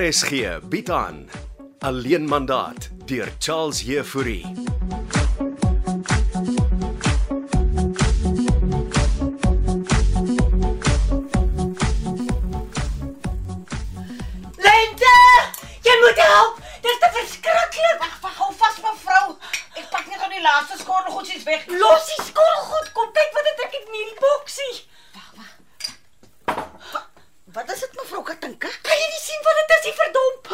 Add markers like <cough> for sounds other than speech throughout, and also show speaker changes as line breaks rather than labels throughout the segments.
RSG bied aan Alleen mandaat deur Charles Heffouri.
Lente, jy moet help. Dit is verskriklik.
Wag, wag, hou vas mevrou. Ek pak net aan die laaste skorrelgoedjies weg.
Los die skorrelgoed. Kom kyk wat het ek in hierdie boksie.
Wat is dit mevrou Katinka? Ah,
Kan jy nie sien wat dit is, die verdomp?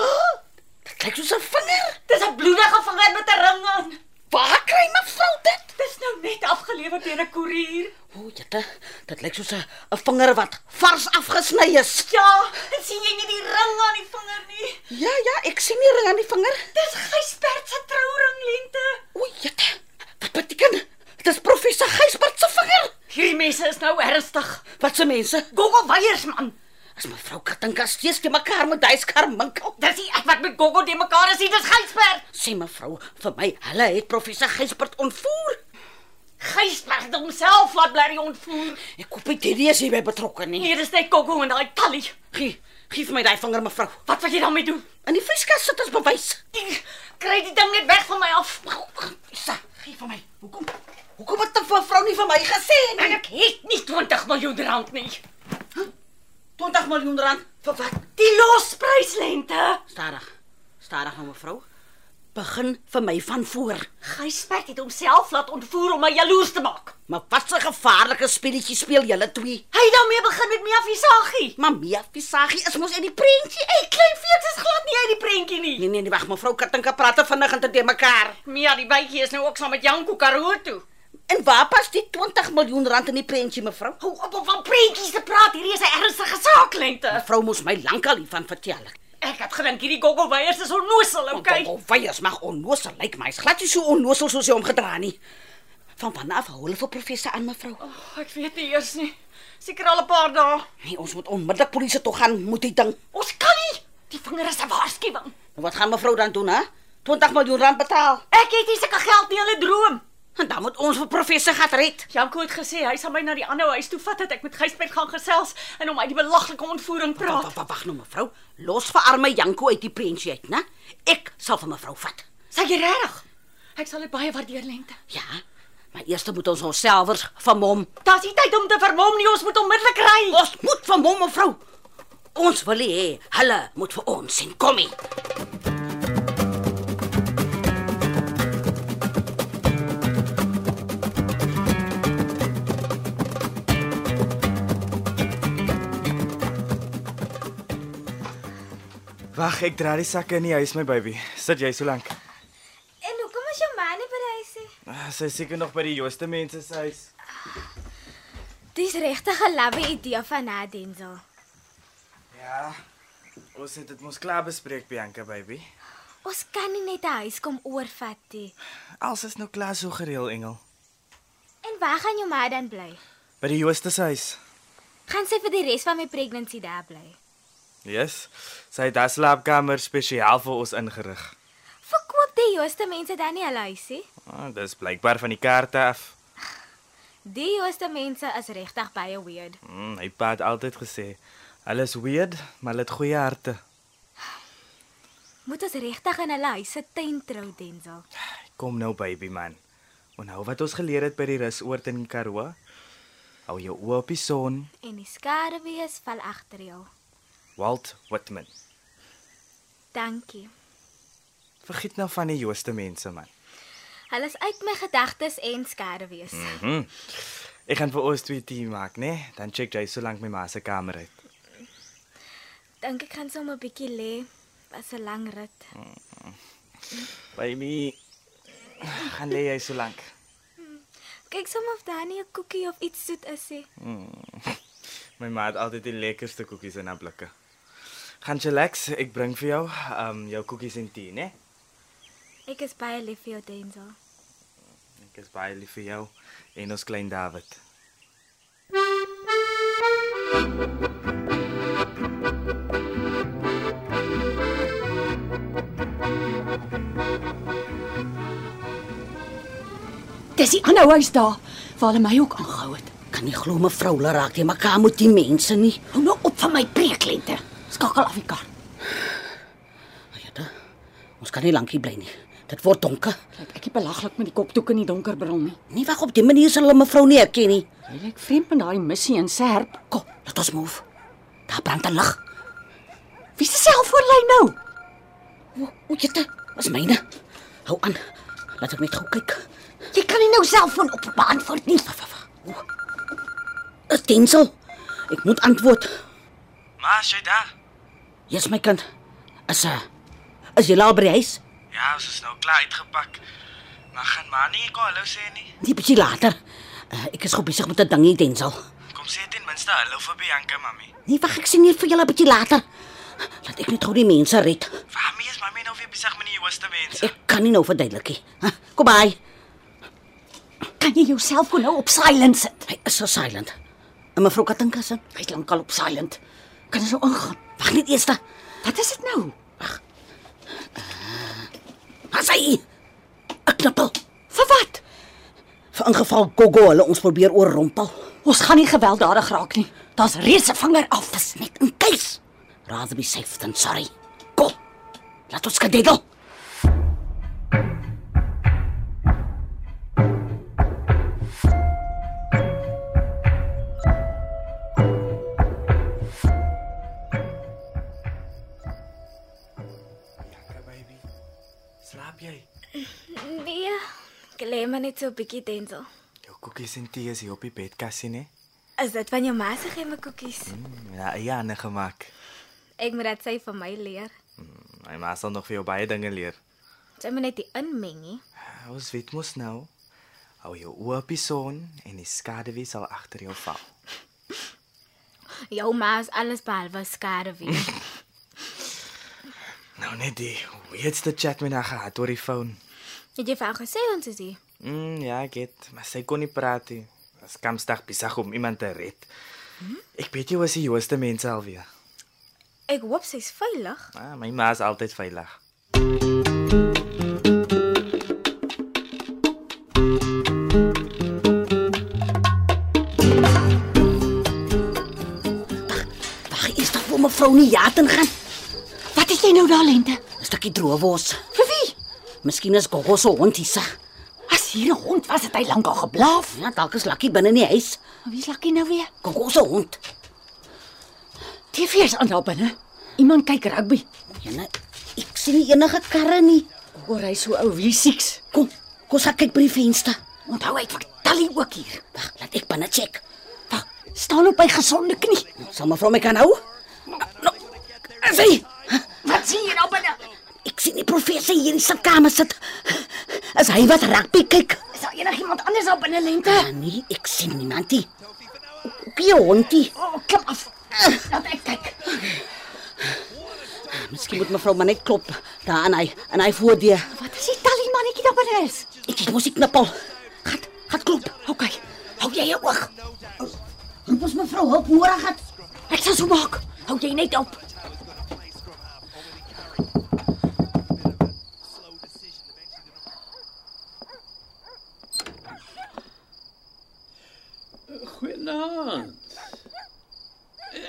Dit lyk soos 'n vinger.
Dis 'n bloedige vinger met 'n ring aan.
Waar kry mevrou dit?
Dis nou net afgelewer deur 'n koerier.
O, jette, dit lyk soos 'n 'n vinger wat vars afgesny is.
Ja, dit sien jy nie die ring aan die vinger nie.
Ja, ja, ek sien die ring aan die vinger.
Dis Gysbert se trouring, Lente.
O, jette. Wat beteken? Dis professor Gysbert se vinger.
Hierdie mense is nou ernstig.
Wat se mense?
Gogo weiers man.
As mevrou Katinka steeds te mekaar met daai skarminkel.
Dis nie ek wat met Gogo de mekaar is nie, dis Gysbert.
Sê mevrou, vir my, hulle het professor Gysbert ontvoer.
Gysbert het homself laat blerry ontvoer.
Ek koop dit hierdie is hierby betrokke nie.
Hier is net Gogo en daai Tally.
Gee, gee vir my daai vinger mevrou.
Wat wil jy daarmee doen?
In die vrieskas sit ons bewys.
Die, kry die ding net weg van my af.
Sa, gee vir my. Hoekom? Hoekom het die vrou nie vir my gesê
En ek het nie 20 miljoen rand nie.
20 miljoen rand vir wat?
Die lospryslente.
Stadig. Stadig nou mevrou. Begin vir my van voor.
Gysbert het homself laat ontvoer om my jaloers te maak.
Maar wat 'n gevaarlike speletjie speel julle twee.
Hy het daarmee begin met Mia Visagie.
Mamma, Visagie is mos uit die prentjie
Hey,
uit.
klein fees is glad nie uit die prentjie nie.
Nee nee, nee wag mevrou Katinka praat te vinnig en te de mekaar.
Mia die bytjie is nou ook saam met Janko Karoo toe.
En waar pas die 20 miljoen rand in die prentjie mevrou?
Hou op om van prentjies te praat. Hierdie is 'n ernstige saak, lente.
Mevrou moes my lankal hiervan vertel.
Ek het gedink hierdie Gogo Weyers is onnosel, okay?
Kyk, Weyers mag onnosel lyk, maar hy's glad nie so onnosel soos hy omgedra nie. Van vanaf hou hulle vir professor aan mevrou.
Oh, ek weet nie eers nie. Seker al 'n paar dae.
Nee, ons moet onmiddellik polisie toe gaan, moet hy ding.
Ons kan nie. Die vinger is 'n waarskuwing.
Nou wat gaan mevrou dan doen, hè? 20 miljoen rand betaal.
Ek het nie sulke geld nie, hulle droom.
En dan moet ons vir professor gat red.
Janko het gesê hy sal my na die ander huis toe vat dat ek met Gysbert gaan gesels en hom uit die belaglike ontvoering
Wag,
praat.
wag, wag nou mevrou. Los vir arme Janko uit die prensie uit, né? Ek sal vir mevrou vat.
Sê jy regtig? Ek sal dit baie waardeer, Lente.
Ja. Maar eers moet ons onsselfers van hom.
Daar's nie tyd om te vermom nie, ons moet onmiddellik ry.
Ons moet van hom mevrou. Ons wil hê hulle moet vir ons sien kom hier.
Wag, ek dra die sakke in die huis my baby. Sit jy so lank.
En hoekom is jou man nie by die huis nie?
Ah, Sy is seker nog by die Jooste mense se huis.
Dis regtig 'n lawwe idee van haar Denzel.
Ja. Ons het dit mos klaar bespreek Bianca baby.
Ons kan nie net 'n huis kom oorvat nie.
Alles is nou klaar so gereël engel.
En waar gaan jou ma dan bly?
By die Jooste se huis.
Gaan sy vir die res van my pregnancy daar bly?
Yes. Sy het 'n slaapkamer spesiaal vir ons ingerig.
Verkoop die jooste mense dan nie hulle huisie?
Ah, dis blykbaar van die kaarte af.
Die jooste mense is regtig baie weird.
Mm, hy pa het altyd gesê, hulle is weird, maar hulle het goeie harte.
Moet ons regtig in hulle huis se tuin trou, Denzel?
Kom nou baby man. Onthou wat ons geleer het by die rusoort in Karoo? Hou jou oë op die son.
En die skaduwees val agter jou.
Walt Whitman.
Dankie.
Vergiet nou van die Jooste mense man.
Hulle is uit my gedagtes en skaduwees. Mm.
Mhm. Ek gaan vir ons twee tee maak, né? Nee? Dan check jy so lank my ma se kamer uit.
Dink ek gaan sommer 'n bietjie lê. Was 'n lang rit.
By my gaan lê jy so lank.
Kyk sommer of daar nie 'n koekie of iets soet is nie.
My ma het altyd die lekkerste koekies in haar blikke. Gaan chillax, ek bring vir jou um jou koekies en tee, né? Nee?
Ek is baie lief vir jou, Denzel.
Ek is baie lief vir jou en ons klein David.
Dis die ander huis daar waar hulle my ook aangehou het.
Kan nie glo mevrou hulle raak nie mekaar met die mense nie.
Hou nou op van my preeklente. Skakel af die kar.
Ons kan nie lank hier bly nie. Dit word donker.
Laat ek nie belaglik met die kopdoek in die donker bril nie.
Nie wag op die manier sal hulle mevrou nie herken nie.
Jy lyk vreemd met daai missie en serp.
Kom, laat ons move. Daar brand 'n lig.
Wie se selfoon lei nou?
O, jette, is myne. Hou aan. Laat ek net gou kyk.
Jy kan nie nou selfoon op beantwoord nie.
Wag, wag, wag. O, Is Denzel? Ek moet antwoord.
Ma, is jy daar?
Jy's my kind. Is 'n Is jy laat by die huis?
Ja, ons is nou klaar uitgepak. Maar gaan maar nie ek hallo sê nie.
Nie bietjie later. Uh, ek is gou besig met 'n dingie, Denzel.
Kom sê ten minste hallo vir Bianca, mami.
Nee, wag, ek sien net vir julle 'n bietjie later. Laat ek net gou die mense red.
Waarmee is mami nou weer besig met die jongste mense?
Ek kan nie nou verduidelik nie. Huh, Kom by.
Kan jy jou selfoon nou op silent sit?
Hy is so silent. En mevrou Katinka se,
Hy's lankal op silent. Kan ons nou ingaan?
wag net eers. Uh,
Wat is dit nou?
Wat sê jy? 'n Knappel.
Vir wat?
Vir ingeval Gogo hulle ons probeer oorrompel.
Ons gaan nie gewelddadig raak nie. Daar's reeds 'n vinger af.
Dis net 'n keus. Rather be safe than sorry. Kom. Laat ons gededel.
Bianca baby. Slaap jy?
Nee, ek lê maar net so 'n bietjie denzel.
Jou koekies en tee is hier op die bedkassie, né?
Is dit van jou ma se geheime koekies?
Ja, ja, nee gemaak.
Ek moet dit sy vir my leer.
My ma sal nog vir jou baie dinge leer.
Sy moet net die inmeng nie.
Ons weet mos nou. Hou jou oë op die son en die skaduwee sal agter jou val.
Jou ma is alles behalwe skaduwee. <laughs>
Nou net die weirdste chat met haar gehad oor die foon.
Het jy vir haar gesê ons is hier?
Mm, ja, ek het, maar sy kon nie praat nie. Was kamsdag besig om iemand te red. Ek weet jy was die jongste mense alweer.
Ek hoop sy's veilig.
Ah, my ma is altyd veilig.
Wag eers dat vir mevrou nie ja ten gaan.
Wat het jy nou daar lente?
'n Stukkie droewors.
Vir wie?
Miskien is Gogo se hond hier. sa.
As hier 'n hond was, het hy lankal geblaaf.
Ja, dalk is Lucky binne in die huis.
Wie's Lucky nou weer?
Gogo se hond.
TV is aan daar binne. Iemand kyk rugby.
Jene, ek sien nie enige karre nie.
Hoor hy so ou wie sieks.
Kom, kom ons gaan kyk by die venster.
Onthou hy het vertel hy ook hier.
Wag, laat ek binne check.
Wag, staan op hy gesonde knie.
Sal mevrou my kan hou? Nou, No, sy,
Wat sien jy nou binne?
ek sien die professor hier in sy kamer sit. As hy wat rugby kyk.
Is daar enigiemand anders daar binne lente?
Nee, ek sien niemand nie. Kie hondie.
O, oh, klim af. Laat ek kyk.
Ah, Miskien moet mevrou maar net klop daar aan hy en hy voor die.
Wat is die talie mannetjie daar binne is?
Ek het mos die knippel.
Gat, gat klop. OK.
Hou jy jou oog. Roep ons mevrou hulp nodig het.
Ek sal so maak. Hou jy net op.
Goeienaand.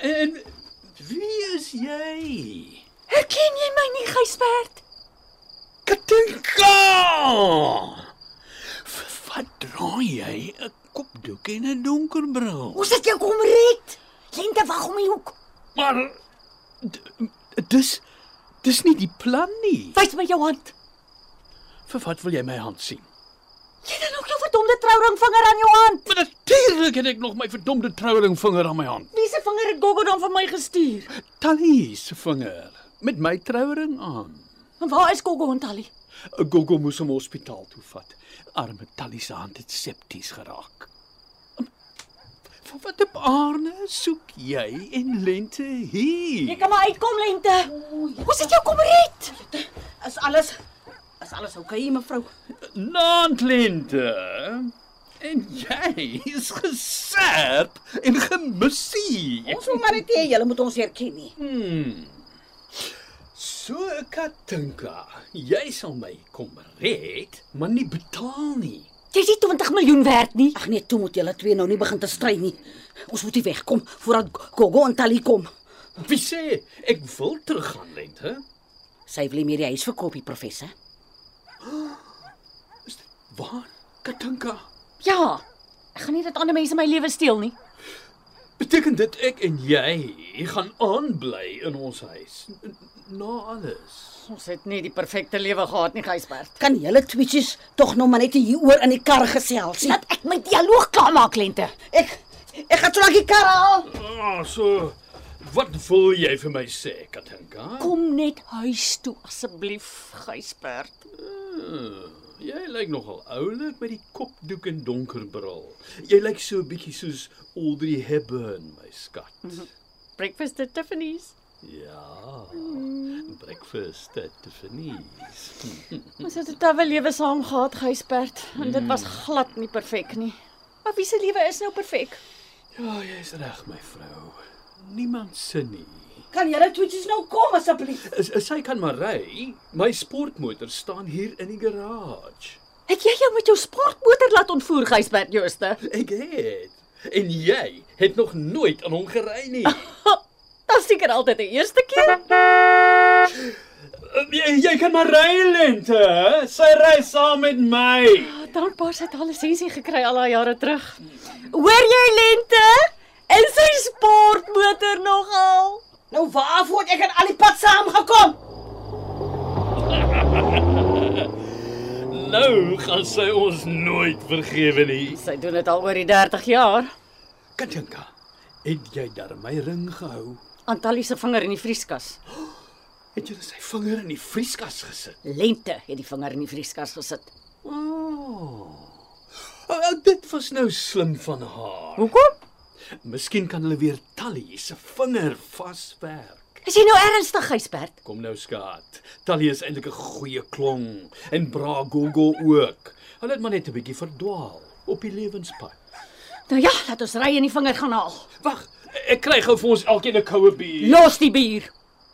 En wie is jy?
Herken jy my nie, Gysbert?
Katinka! V- Wat dra jy? 'n Kopdoek en 'n donker bril.
Ons het jou kom red. Lente wag om die hoek.
Maar d- dis dis nie die plan nie.
Wys my jou hand.
Vir wat wil jy my hand sien?
Jy het nog jou verdomde trouring vinger aan jou hand.
Maar natuurlik het ek nog my verdomde trouringvinger aan my hand.
Wie se vinger het Gogo dan vir my gestuur?
Tannie se vinger met my trouring aan.
En waar is Gogo en Tally?
Gogo moes hom hospitaal toe vat. Arme Tally se hand het septies geraak. Vir wat op aarde soek jy en lente
Jy
hier?
kan maar uitkom, Lente. Ons het jou kom red.
Is alles is alles oukei, okay, mevrou?
Land lente. En jy is gesap en gemusie.
Ons wil maar net hê julle moet ons herken nie.
So Katinka, jy sal my kom red, maar nie betaal nie.
Jy's nie 20 miljoen werd nie.
Ag nee, toe moet julle twee nou nie begin te stry nie. Ons moet hier wegkom voordat Gogo en Tali kom.
Wie sê ek wil teruggaan lente?
Sy wil nie meer die huis verkoop, die professor.
Waar? Katinka.
Ja. Ek gaan nie dat ander mense my lewe steel nie.
Beteken dit ek en jy gaan aanbly in ons huis N- na alles?
Ons het nie die perfekte lewe gehad nie, Gysbert.
Kan julle twitches tog nog maar net hier oor in die kar gesels nie.
ek my dialoog klaarmaak, Lente.
Ek ek gaan toe lank die kar haal.
Ah, so wat wil jy vir my sê, Katinka?
Kom net huis toe asseblief, Gysbert.
Jy lyk nogal oulik met die kopdoek en donker bril. Jy lyk so 'n bietjie soos Audrey Hepburn, my skat.
Breakfast at Tiffany's.
Ja. Breakfast at Tiffany's.
Ons het 'n tawe lewe saam gehad, Gysbert, en dit was glad nie perfek nie. Maar wie se lewe is nou perfek?
Ja, jy's reg, my vrou. Niemand sin nie.
Kan julle twitches nou kom asseblief?
Is, is sy kan maar ry. My sportmotor staan hier in die garage.
Het jy jou met jou sportmotor laat ontvoer, Gysbert Jooste?
Ek het. En jy het nog nooit aan hom gery nie. Eh,
Dis seker altyd die eerste
<laughs>
keer.
Jy, jy kan maar ry lente. hè? Sy ry saam met my.
Dankbaar sy het haar lisensie gekry al haar jare terug. Hoor jy lente? En sy sportmotor nogal.
Nou waarvoor het ek aan al die pad saam gekom?
Nou gaan sy ons nooit vergewe nie.
Sy doen dit al oor die 30 jaar.
Katinka, het jy daar my ring gehou?
Antalie se vinger in die vrieskas.
Het jy sy vinger in die vrieskas gesit?
Lente het die vinger in die vrieskas gesit.
O, oh, dit was nou slim van haar.
Hoekom?
Miskien kan hulle weer Tally se vinger vaswerk.
Is jy nou ernstig, Gysbert?
Kom nou skaat. Tally is eintlik 'n goeie klong en bra gogo ook. Hulle het maar net 'n bietjie verdwaal op die lewenspad.
Nou ja, laat ons ry en die vinger gaan haal.
Wag, ek kry gou vir ons elkeen 'n koue bier.
Los die bier.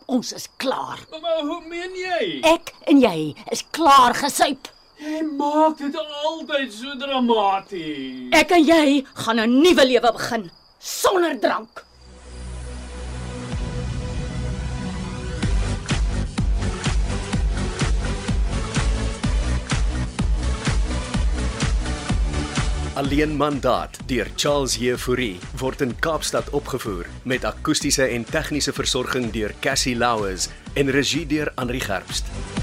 Ons is klaar.
Maar hoe meen jy?
Ek en jy is klaar gesuip.
Jy maak dit altyd so dramaties.
Ek en jy gaan 'n nuwe lewe begin sonder drank.
Alleen mandaat deur Charles Heffouri word in Kaapstad opgevoer met akoestiese en tegniese versorging deur Cassie Louws en regie deur Henri Gerst.